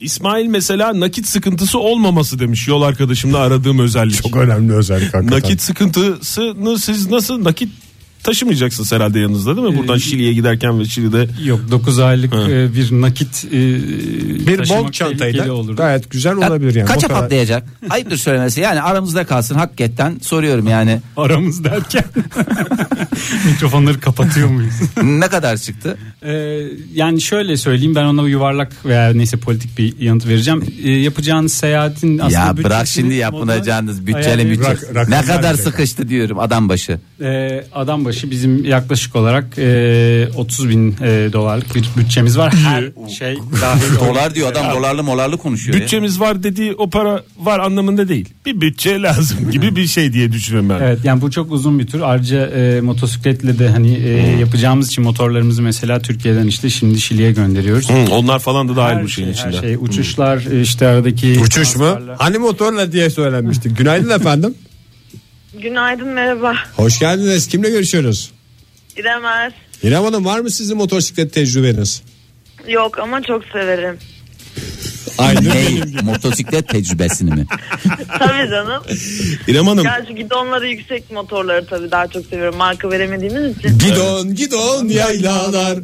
C: İsmail mesela nakit sıkıntısı olmaması demiş yol arkadaşımla aradığım özellik.
B: Çok önemli özellik hakikaten.
C: nakit sıkıntısını siz nasıl nakit taşımayacaksınız herhalde yanınızda değil mi? Buradan
E: Ee,
C: Şili'ye giderken ve Şili'de
E: yok 9 aylık
C: Ha.
E: e, bir nakit e,
B: bir bol
E: taşımak tehlikeli
B: çantayla
E: olur.
B: gayet güzel olabilir yani.
D: Kaça
B: O kadar-
D: patlayacak? Ayıptır söylemesi yani aramızda kalsın hakikaten soruyorum yani.
E: aramız derken <laughs> mikrofonları kapatıyor muyuz?
D: ne kadar çıktı?
E: Ee, yani şöyle söyleyeyim ben ona yuvarlak veya neyse politik bir yanıt vereceğim. Ee, yapacağınız seyahatin aslında
D: ya bırak
E: bütçesini
D: şimdi
E: model
D: yapınacağınız bütçeli
E: ayarlayıp-
D: bütçe.
B: Rak- rakamlar
D: ne kadar
B: bile.
D: sıkıştı diyorum adam başı.
E: Ee, adam başı bizim yaklaşık olarak e, 30 bin e, dolarlık bir bütçemiz var. Her şey dahil.
D: Dolar diyor adam dolarlı molarlı konuşuyor. ya.
C: bütçemiz var dediği o para var anlamında değil. Bir bütçe lazım gibi bir şey diye düşünüyorum ben.
E: Evet yani bu çok uzun bir tür. Ayrıca e, motosikletle de hani e, yapacağımız için motorlarımızı mesela Türkiye'den işte şimdi Şili'ye gönderiyoruz.
C: Hı, onlar falan da dahil bu şeyin
E: şey,
C: içinde.
E: Her şey uçuşlar işte aradaki
B: Uçuş mu?
E: transferler.
B: Hani motorla diye söylenmişti. Günaydın efendim.
F: Günaydın, merhaba.
B: <laughs> Hoş geldiniz. Kimle görüşüyoruz?
F: İrem Er.
B: İrem Hanım var mı sizin motosiklet tecrübeniz?
F: Yok ama çok severim.
B: Aynı
D: Ney? Motosiklet tecrübesini
B: <laughs>
D: mi?
F: Tabii
C: <laughs>
F: canım.
C: İrem Hanım
F: Ya şu gidonları yüksek motorları tabii daha çok seviyorum. Marka veremediğimiz için.
B: Gidon gidon yaylalar.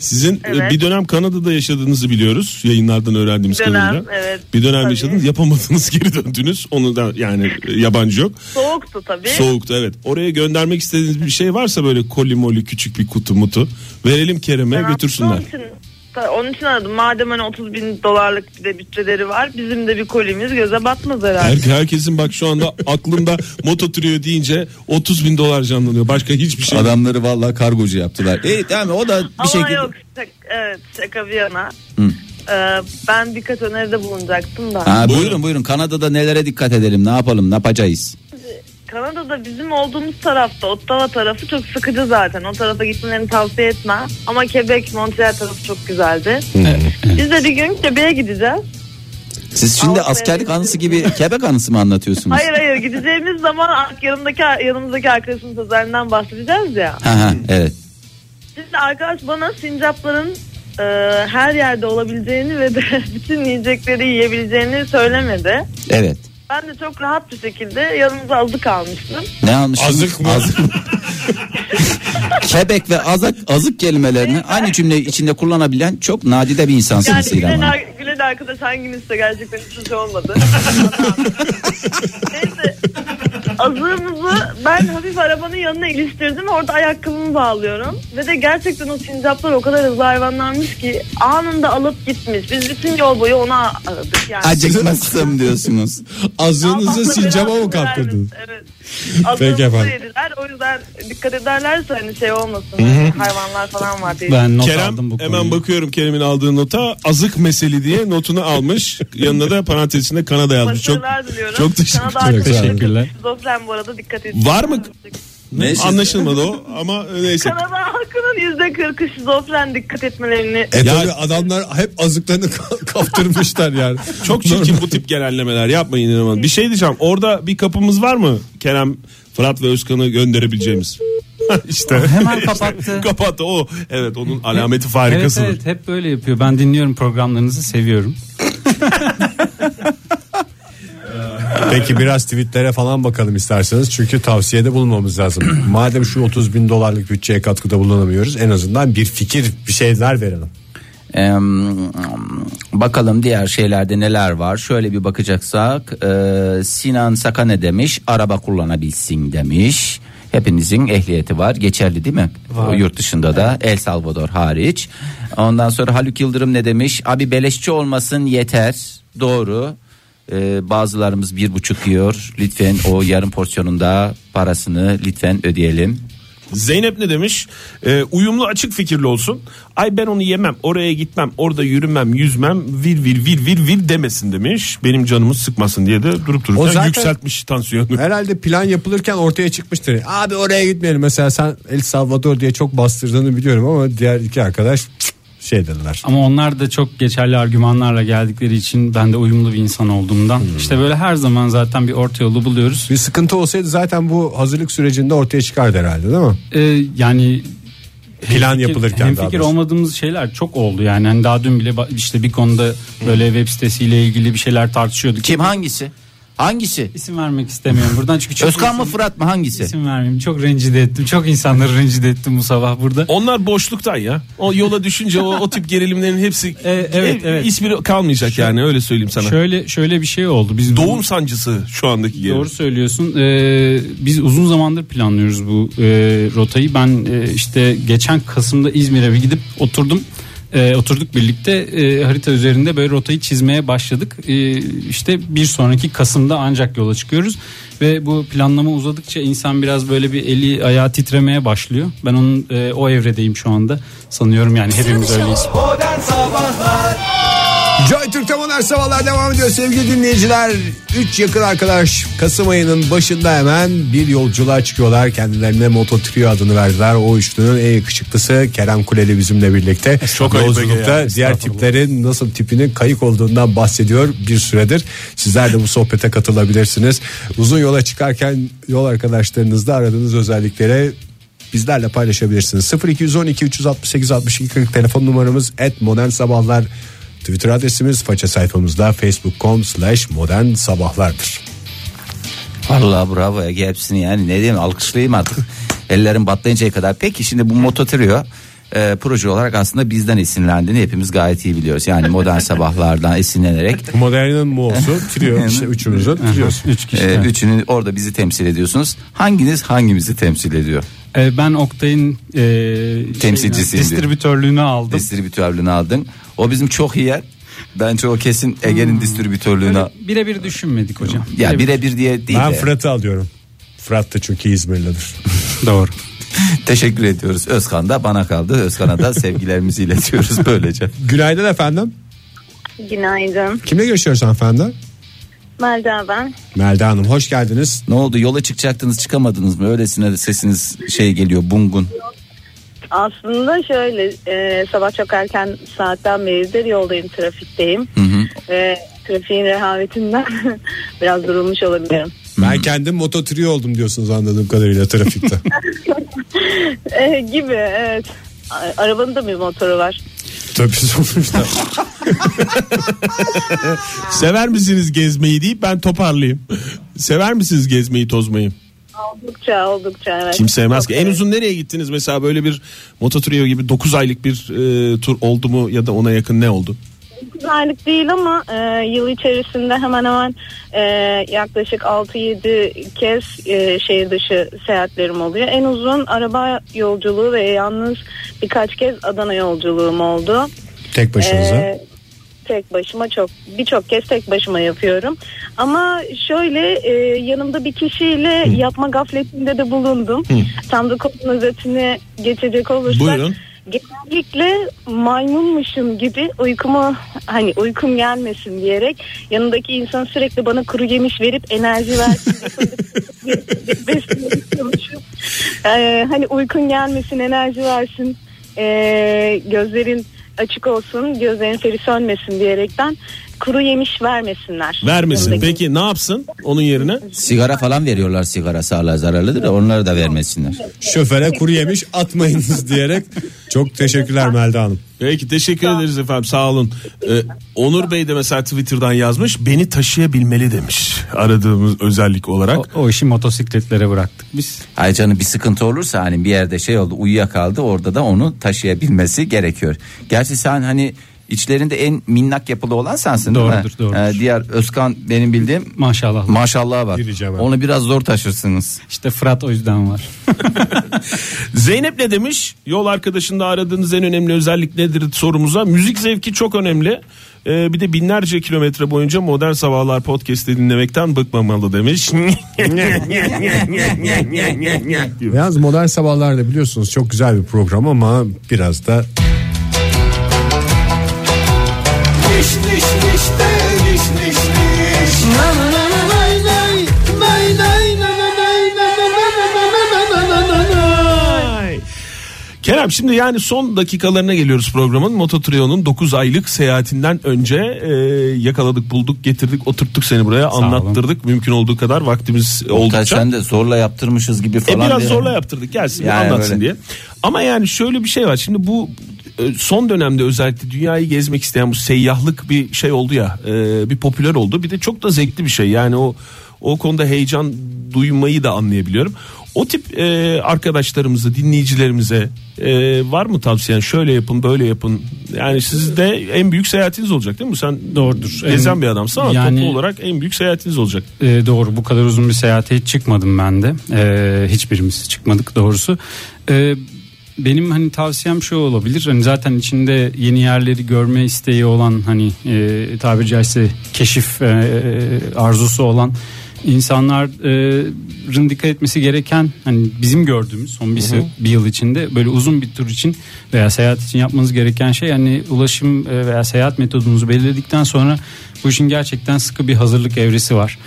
C: Sizin e,
F: Evet.
C: bir dönem Kanada'da yaşadığınızı biliyoruz. Yayınlardan öğrendiğimiz
F: Bir dönem,
C: kadarıyla.
F: evet.
C: Bir dönem
F: Tabii.
C: yaşadınız, yapamadınız, <laughs> geri döndünüz. Onu da yani e, yabancı yok.
F: Soğuktu tabii.
C: Soğuktu evet. Oraya göndermek istediğiniz bir şey varsa böyle koli moli küçük bir kutu mutu verelim Kerem'e
F: Ben
C: götürsünler.
F: aslında Onun için, ta- onun için aradım. Madem hani 30 bin dolarlık bir de bütçeleri var. Bizim de bir kolimiz göze batmaz herhalde.
C: Her, herkesin bak şu anda aklında moto trio deyince 30 bin dolar canlanıyor. Başka hiçbir şey. yok.
D: Adamları vallahi kargocu yaptılar. İyi tamam o da bir
F: Ama
D: şekilde.
F: yok şak- evet şaka bir yana. Ee, ben birkaç öneride bulunacaktım da.
D: Ha,
C: Buyurun.
D: buyurun buyurun Kanada'da nelere dikkat edelim ne yapalım ne yapacağız?
G: Kanada'da bizim olduğumuz tarafta Ottawa tarafı çok sıkıcı zaten. O tarafa gitmelerini tavsiye etmem. Ama Quebec, Montreal tarafı çok güzeldi. Biz de bir gün Quebec'e gideceğiz.
D: Siz şimdi
G: Avrupa'ya
D: askerlik
G: gideceğiz.
D: anısı gibi Quebec anısı mı anlatıyorsunuz?
G: Hayır hayır gideceğimiz zaman yanımdaki, yanımızdaki arkadaşımız Özel'den bahsedeceğiz ya.
D: Ha, ha, evet.
G: Şimdi arkadaş bana sincapların e, her yerde olabileceğini ve de <laughs> bütün yiyecekleri yiyebileceğini söylemedi.
D: Evet.
G: Ben de çok rahat bir şekilde yanımıza azık almıştım.
D: Ne almışsınız?
B: Azık mı?
D: Azık. <laughs> Quebec ve azık, azık kelimelerini aynı cümle içinde kullanabilen çok nadide bir
G: Yani
D: insansınız İrem
G: gülen,
D: Hanım.
G: ar- gülen arkadaş hanginizse gerçekten hiçbir
B: <laughs>
G: şey olmadı. Neyse azığımızı ben hafif arabanın yanına iliştirdim. Orada ayakkabımı bağlıyorum. Ve de gerçekten o sincaplar o kadar hızlı hayvanlanmış ki anında alıp gitmiş. Biz bütün yol boyu ona aradık yani.
D: Acıkmışsın diyorsunuz.
B: Azığınızı
G: Allah'la
B: sincaba
G: belasını
B: mı kaptırdınız?
G: vermiş, Evet. Azığımızı
B: efendim.
G: yediler. O yüzden dikkat ederlerse hani şey olmasın. hani hayvanlar falan var diye.
E: Ben not aldım
C: Kerem
E: bu konuyu.
C: hemen bakıyorum Kerem'in aldığı nota azık meseli diye notunu almış. Yanına da parantez içinde Kanada yazmış. Çok
G: Başarılar diliyorum.
C: çok teşekkür
G: Sana da arkadaşlar
E: Teşekkürler.
G: Şizofren bu arada dikkat edin.
C: Var mı?
D: Ne şey-
C: Anlaşılmadı o ama neyse.
G: Kanada halkının yüzde kırkı şizofren dikkat etmelerini.
B: E
C: Ya-
B: tabii adamlar hep azıklarını ka- <laughs> kaptırmışlar yani.
C: Çok çirkin bu tip genellemeler yapmayın inanın. Bir şey diyeceğim. Orada bir kapımız var mı? Kerem, Fırat ve Özkan'ı gönderebileceğimiz. <laughs> işte.
E: Hemen kapattı.
C: <laughs> Kapattı o. Evet onun alameti
E: Evet,
C: farikasıdır.
E: evet hep böyle yapıyor. Ben dinliyorum programlarınızı seviyorum.
B: Peki biraz tweetlere falan bakalım isterseniz. Çünkü tavsiyede bulunmamız lazım. Madem şu 30 bin dolarlık bütçeye katkıda bulunamıyoruz en azından bir fikir bir şeyler verelim.
D: Ee, bakalım diğer şeylerde neler var. Şöyle bir bakacaksak e, Sinan Saka ne demiş? Araba kullanabilsin demiş. Hepinizin ehliyeti var. Geçerli değil mi? O yurt dışında da El Salvador hariç. Ondan sonra Haluk Yıldırım ne demiş? Abi beleşçi olmasın yeter. Doğru. Ee, bazılarımız bir buçuk yiyor. Lütfen o yarım porsiyonunda parasını lütfen ödeyelim.
C: Zeynep ne demiş? Ee, uyumlu açık fikirli olsun. Ay ben onu yemem, oraya gitmem, orada yürümem, yüzmem, vir vir vir vir vir demesin demiş. Benim canımı sıkmasın diye de durup dururken
B: O zaten-
C: yükseltmiş <laughs> tansiyonu.
B: Herhalde plan yapılırken ortaya çıkmıştır. Abi oraya gitmeyelim mesela sen El Salvador diye çok bastırdığını biliyorum ama diğer iki arkadaş "Cık" şey dediler.
E: Ama onlar da çok geçerli argümanlarla geldikleri için ben de uyumlu bir insan olduğumdan. işte böyle her zaman zaten bir orta yolu buluyoruz.
B: Bir sıkıntı olsaydı zaten bu hazırlık sürecinde ortaya çıkardı herhalde değil mi?
E: Ee, yani
B: Plan yapılırken
E: hem
B: daha
E: fikir
B: doğrusu.
E: olmadığımız şeyler çok oldu yani. Hani daha dün bile ba- işte bir konuda böyle web sitesiyle ilgili bir şeyler tartışıyorduk.
D: Kim hangisi? Hangisi?
E: İsim vermek istemiyorum buradan çünkü çok
D: Özkan mı
E: insan-
D: Fırat mı hangisi?
E: İsim vermeyeyim. Çok rencide ettim. Çok insanları rencide ettim bu sabah burada.
C: Onlar boşluktan ya. O yola düşünce o, o tip gerilimlerin <laughs> hepsi
E: E, evet, evet.
C: hiçbiri kalmayacak yani öyle söyleyeyim sana.
E: Şöyle şöyle bir şey oldu. Biz bunu-
C: Doğum sancısı şu andaki gerilim.
E: Doğru söylüyorsun. Ee, biz uzun zamandır planlıyoruz bu e, rotayı. Ben e, işte geçen Kasım'da İzmir'e bir gidip oturdum. E, oturduk birlikte e, harita üzerinde böyle rotayı çizmeye başladık. E, işte bir sonraki Kasım'da ancak yola çıkıyoruz ve bu planlama uzadıkça insan biraz böyle bir eli ayağı titremeye başlıyor. Ben onun e, o evredeyim şu anda. Sanıyorum yani hepimiz öyleyiz.
A: Modern Sabahlar
B: Joy Türk'te modern sabahlar devam ediyor sevgili dinleyiciler. 3 yakın arkadaş Kasım ayının başında hemen bir yolculuğa çıkıyorlar. Kendilerine Moto Trio adını verdiler. O üçlünün en yakışıklısı Kerem Kuleli bizimle birlikte.
C: Çok ayıp Ege
B: Yolculukta
C: ya,
B: diğer
C: estağfurullah.
B: tiplerin nasıl tipinin kayık olduğundan bahsediyor bir süredir. Sizler de bu sohbete katılabilirsiniz. Uzun yola çıkarken yol arkadaşlarınızda aradığınız özelliklere bizlerle paylaşabilirsiniz. 0212 368 62 40 telefon numaramız et modern sabahlar. Twitter adresimiz faça sayfamızda facebook.com slash modern sabahlardır.
D: Vallahi bravo Ege hepsini yani ne diyeyim alkışlayayım artık. Ellerim batlayıncaya kadar. Peki şimdi bu Mototrio e, proje olarak aslında bizden esinlendiğini hepimiz gayet iyi biliyoruz. Yani modern sabahlardan esinlenerek e,
B: Modernin muosu trio işte üçümüzün triosu.
E: Üç kişi.
D: e, üçünü orada bizi temsil ediyorsunuz. Hanginiz hangimizi temsil ediyor?
E: E, ben Oktay'ın e,
D: Temsilcisiyim diyor.
E: distribütörlüğünü aldım.
D: Distribütörlüğünü aldın. O bizim çok iyi yer. Bence o kesin Ege'nin distribütörlüğünü...
E: Öyle Birebir düşünmedik hocam.
D: Ya
E: Birebir-
D: birebir diye değil
B: Ben
D: de.
B: Fırat'ı alıyorum. Fırat da çünkü İzmirlidir.
E: Doğru.
D: Teşekkür ediyoruz. Özkan da bana kaldı. Özkan'a da sevgilerimizi iletiyoruz böylece.
B: Günaydın efendim.
G: Günaydın.
B: Kimle görüşüyoruz hanımefendi?
G: Melda ben.
B: Melda Hanım hoş geldiniz.
D: Ne oldu yola çıkacaktınız çıkamadınız mı? Öylesine de sesiniz şey geliyor bungun.
G: Aslında şöyle e, sabah çok erken saatten beridir yoldayım trafikteyim.
D: Hı hı.
G: Ve trafiğin rehavetinden <laughs> biraz durulmuş olabilirim.
C: Hmm.
B: Ben kendim mototri oldum diyorsunuz anladığım kadarıyla
C: <laughs>
B: trafikte.
G: E, gibi evet. A- Arabanın da bir motoru var.
B: Tabii sonuçta.
C: Sever misiniz gezmeyi deyip ben toparlayayım. <laughs> Sever misiniz gezmeyi tozmayı?
G: Oldukça oldukça evet.
C: Kim sevmez ki.
G: Çok
C: En
G: evet.
C: uzun nereye gittiniz mesela böyle bir mototrio gibi 9 aylık bir e, tur oldu mu ya da ona yakın ne oldu?
G: aylık değil ama e, yıl içerisinde hemen hemen e, yaklaşık 6-7 kez e, şehir dışı seyahatlerim oluyor. En uzun araba yolculuğu ve yalnız birkaç kez Adana yolculuğum oldu.
B: Tek başınıza.
G: Ee, tek başıma çok birçok kez tek başıma yapıyorum. Ama şöyle e, yanımda bir kişiyle yapma gafletinde de bulundum. Tam da konunun özetine geçecek olursak.
C: Buyurun.
G: Genellikle maymunmuşum gibi uykumu hani uykum gelmesin diyerek yanındaki insan sürekli bana kuru yemiş verip enerji versin diye beslemeye çalışıyorum. Ee, hani uykun gelmesin enerji versin ee, gözlerin açık olsun gözlerin feri sönmesin diyerekten kuru yemiş vermesinler.
C: Vermesin.
G: Yanındaki-
C: Peki ne yapsın onun yerine?
D: Sigara falan veriyorlar sigara sağlığa zararlıdır da onları da vermesinler.
B: Şoföre kuru yemiş atmayınız diyerek. Çok teşekkürler Melda Hanım.
C: Peki teşekkür ederiz efendim sağ olun. Ee, Onur Bey de mesela Twitter'dan yazmış beni taşıyabilmeli demiş aradığımız özellik olarak.
E: O, o işi motosikletlere bıraktık biz.
D: Ay canım bir sıkıntı olursa hani bir yerde şey oldu uyuyakaldı orada da onu taşıyabilmesi gerekiyor. Gerçi sen hani içlerinde en minnak yapılı olan sensin değil mi?
E: Doğrudur, doğrudur.
D: Ee, diğer Özkan benim bildiğim
E: Maşallah.
D: maşallah var.
B: Gireceğim abi.
D: Onu biraz zor taşırsınız.
E: işte Fırat o yüzden var.
C: Zeynep ne demiş? Yol arkadaşında aradığınız en önemli özellik nedir sorumuza. Müzik zevki çok önemli. Ee, bir de binlerce kilometre boyunca Modern Sabahlar podcast'i dinlemekten bıkmamalı demiş.
B: Yalnız modern sabahlarda biliyorsunuz çok güzel bir program ama biraz da
A: Diş diş diş de diş diş diş. Na na na na nay nay. Nay nay na na nay na na na na na na na na na na.
C: Kerem şimdi yani son dakikalarına geliyoruz programın. Mototrio'nun 9 aylık seyahatinden önce e, yakaladık, bulduk, getirdik, oturttuk seni buraya,
E: olun.
C: anlattırdık. Mümkün olduğu kadar vaktimiz
D: Oktay
C: oldukça.
D: sen de zorla yaptırmışız gibi
C: E
D: falan.
C: biraz
D: diye.
C: zorla yaptırdık gelsin bir
D: Yani
C: anlatsın
D: böyle.
C: diye. Ama yani şöyle bir şey var. Şimdi bu e, son dönemde özellikle dünyayı gezmek isteyen bu seyyahlık bir şey oldu ya. e, Bir popüler oldu. Bir de çok da zevkli bir şey. Yani o o konuda heyecan duymayı da anlayabiliyorum. O tip e, arkadaşlarımızı, dinleyicilerimize e, var mı tavsiyen? Şöyle yapın, böyle yapın. Yani sizde en büyük seyahatiniz olacak değil mi? Sen
E: Doğrudur.
C: gezen
E: En-
C: bir adamsın ama
E: yani-
C: toplu olarak en büyük seyahatiniz olacak.
E: Ee, doğru bu kadar uzun bir seyahate hiç çıkmadım ben de. Ee, hiçbirimiz çıkmadık doğrusu. Ee, benim hani tavsiyem şu olabilir. Hani zaten içinde yeni yerleri görme isteği olan hani e, tabiri caizse keşif e, arzusu olan insanların dikkat etmesi gereken hani bizim gördüğümüz son bir, se- bir yıl içinde böyle uzun bir tur için veya seyahat için yapmanız gereken şey hani ulaşım e, veya seyahat metodunuzu belirledikten sonra bu işin gerçekten sıkı bir hazırlık evresi var.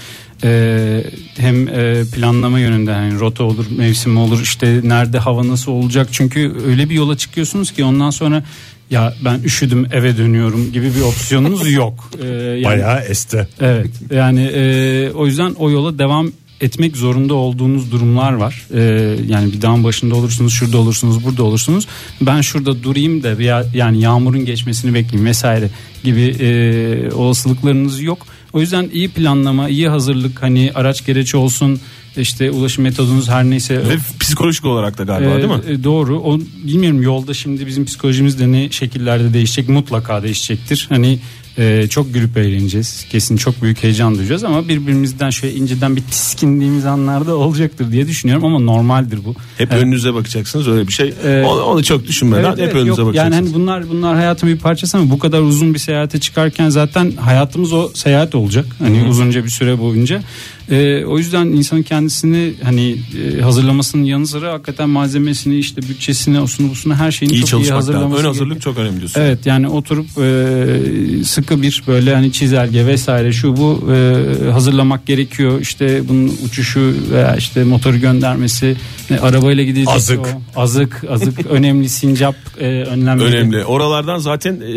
E: Ee, hem e, planlama yönünden hani rota olur mevsim olur işte nerede hava nasıl olacak çünkü öyle bir yola çıkıyorsunuz ki ondan sonra ya ben üşüdüm eve dönüyorum gibi bir opsiyonunuz yok. Ee, yani-
B: bayağı este.
E: Evet yani e, o yüzden o yola devam etmek zorunda olduğunuz durumlar var. E, yani bir dağın başında olursunuz, şurada olursunuz, burada olursunuz. Ben şurada durayım da veya yani yağmurun geçmesini bekleyeyim vesaire gibi e, olasılıklarınız yok. O yüzden iyi planlama, iyi hazırlık hani araç gereç olsun işte ulaşım metodunuz her neyse
C: Ve psikolojik olarak da galiba
E: ee,
C: değil mi?
E: e, doğru. O, bilmiyorum yolda şimdi bizim psikolojimiz de ne şekillerde değişecek mutlaka değişecektir. Hani e, çok gülüp eğleneceğiz. Kesin çok büyük heyecan duyacağız ama birbirimizden şöyle inceden bir tiskindiğimiz anlarda olacaktır diye düşünüyorum ama normaldir bu.
C: Hep
E: Evet.
C: önünüze bakacaksınız öyle bir şey.
E: Ee,
C: onu, onu çok düşünmeden
E: Evet,
C: hep
E: evet,
C: önünüze
E: yok. Yani
C: bakacaksınız.
E: hani bunlar bunlar hayatın bir parçası ama bu kadar uzun bir seyahate çıkarken zaten hayatımız o seyahat olacak. Hani uzunca bir süre boyunca. E, o yüzden insan kendisini hani e, hazırlamasının yanı sıra hakikaten malzemesini işte bütçesini osunu busunu her şeyini
C: İyi
E: çok iyi
C: çalışmak lazım.
E: hazırlaması
C: Ön
E: gerekiyor.
C: hazırlık çok önemli diyorsun.
E: Evet yani oturup e, sıkı bir böyle hani çizelge vesaire şu bu e, hazırlamak gerekiyor. İşte bunun uçuşu veya işte motoru göndermesi, e, arabayla gidecek
B: Azık.
E: o- azık, azık önemli sincap e, önlemleri.
C: Önemli. Oralardan zaten e,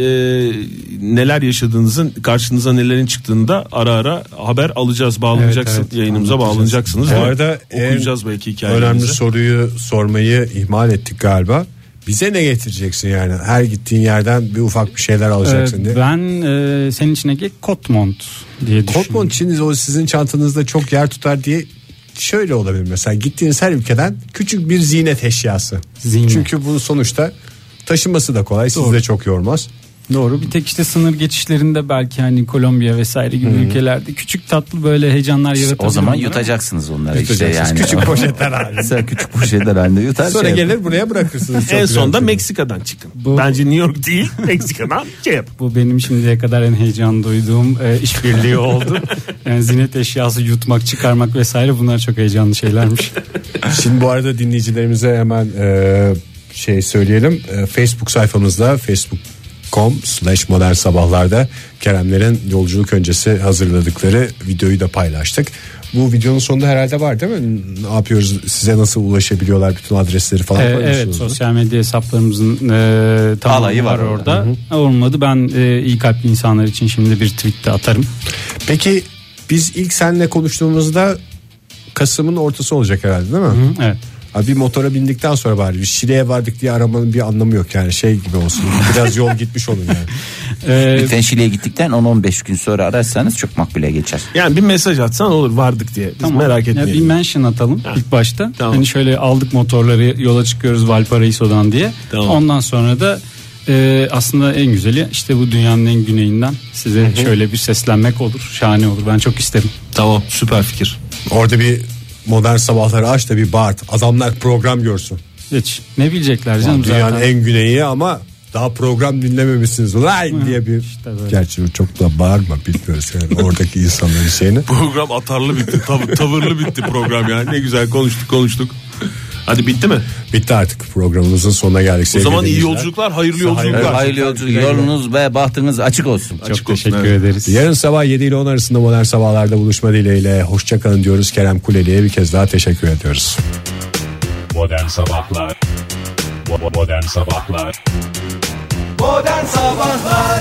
C: neler yaşadığınızın karşınıza nelerin çıktığını da ara ara haber alacağız, bağlanacaksın
E: Evet, evet,
C: yayınımıza bağlanacaksınız.
B: Bu
C: değil mi?
B: arada en
C: okuyacağız belki hikayelerinizi.
B: Önemli soruyu sormayı ihmal ettik galiba. Bize ne getireceksin yani? Her gittiğin yerden bir ufak bir şeyler alacaksın
E: E,
B: diye.
E: ben e, senin içindeki kotmont diye düşünüyorum.
B: Kotmon için o sizin çantanızda çok yer tutar diye şöyle olabilir mesela gittiğiniz her ülkeden küçük bir ziynet eşyası.
E: Ziynet.
B: Çünkü bu sonuçta taşıması da kolay, sizi de çok yormaz.
E: Doğru bir tek işte sınır geçişlerinde belki hani Kolombiya vesaire gibi ülkelerde küçük tatlı böyle heyecanlar yaratabilir.
D: O zaman
E: onlara.
D: yutacaksınız onları işte
B: Tutacaksınız.
D: yani.
B: Küçük poşetler
D: <laughs>
B: halinde.
D: Sen küçük poşetler halinde yutar.
B: Sonra
D: şey yap-
B: gelir buraya bırakırsınız. Çok
C: En
B: güzel
C: sonda
B: çünkü.
C: Meksika'dan çıkın.
E: Bu-
C: Bence New York değil, Meksika'dan şey yap.
E: Bu benim şimdiye kadar en heyecan duyduğum e,
D: <laughs>
E: işbirliği oldu. Yani zinet eşyası yutmak, çıkarmak vesaire bunlar çok
D: <laughs>
E: heyecanlı şeylermiş.
B: Şimdi bu arada dinleyicilerimize hemen e, şey söyleyelim. E, Facebook sayfamızda facebook.com slash modern sabahlarda Keremlerin yolculuk öncesi hazırladıkları videoyu da paylaştık. Bu videonun sonunda herhalde var değil mi? Ne yapıyoruz? Size nasıl ulaşabiliyorlar? Bütün adresleri falan
E: E, evet
B: koymuşsunuz.
E: sosyal medya hesaplarımızın e, tamamı
D: Alayı var
E: var
D: orada.
E: orada. Olmadı ben e, iyi kalpli insanlar için şimdi bir tweet de atarım.
B: Peki biz ilk seninle konuştuğumuzda Kasım'ın ortası olacak herhalde değil mi?
E: Hı, Evet.
B: Abi bir motora bindikten sonra bari bir Şile'ye vardık diye aramanın bir anlamı yok yani şey gibi olsun. Biraz yol gitmiş olun yani.
E: E,
D: Lütfen Şili'ye gittikten 10-15 gün sonra ararsanız çok makbule geçer.
C: Yani bir mesaj atsan olur vardık diye. Biz
E: Tamam.
C: merak
E: Ya
C: etmeyelim.
E: bir mention atalım ilk başta.
C: Tamam.
E: Hani şöyle aldık motorları yola çıkıyoruz Valparaiso'dan diye.
C: Tamam.
E: Ondan sonra da e, aslında en güzeli işte bu dünyanın en güneyinden size şöyle bir seslenmek olur. Şahane olur. Ben çok isterim.
C: Tamam süper fikir.
B: Orada bir modern sabahları aç da bir bağırt. Adamlar program görsün.
E: Hiç ne bilecekler canım
B: Dünyanın
E: zaten.
B: en güneyi ama daha program dinlememişsiniz. Lay diye bir.
E: böyle.
B: Gerçi çok da bağırma bilmiyoruz yani oradaki insanların şeyini.
C: Program atarlı bitti, tav- tavırlı bitti program yani. Ne güzel konuştuk konuştuk. Hadi bitti mi?
B: Bitti artık programımızın sonuna geldik.
C: O
B: sevgili
C: zaman iyi
B: dinleyiciler.
C: yolculuklar, hayırlı
B: Hayırlı-
C: yolculuklar.
D: Hayırlı yolculuk, yolunuz ve bahtınız açık olsun.
E: Çok
C: Açık olsun,
E: teşekkür
C: evet.
E: ederiz.
B: Yarın sabah 7 ile 10 arasında modern sabahlarda buluşma dileğiyle. Hoşçakalın diyoruz. Kerem Kuleli'ye bir kez daha teşekkür ediyoruz.
H: Modern Sabahlar Bo- Modern Sabahlar
A: Modern Sabahlar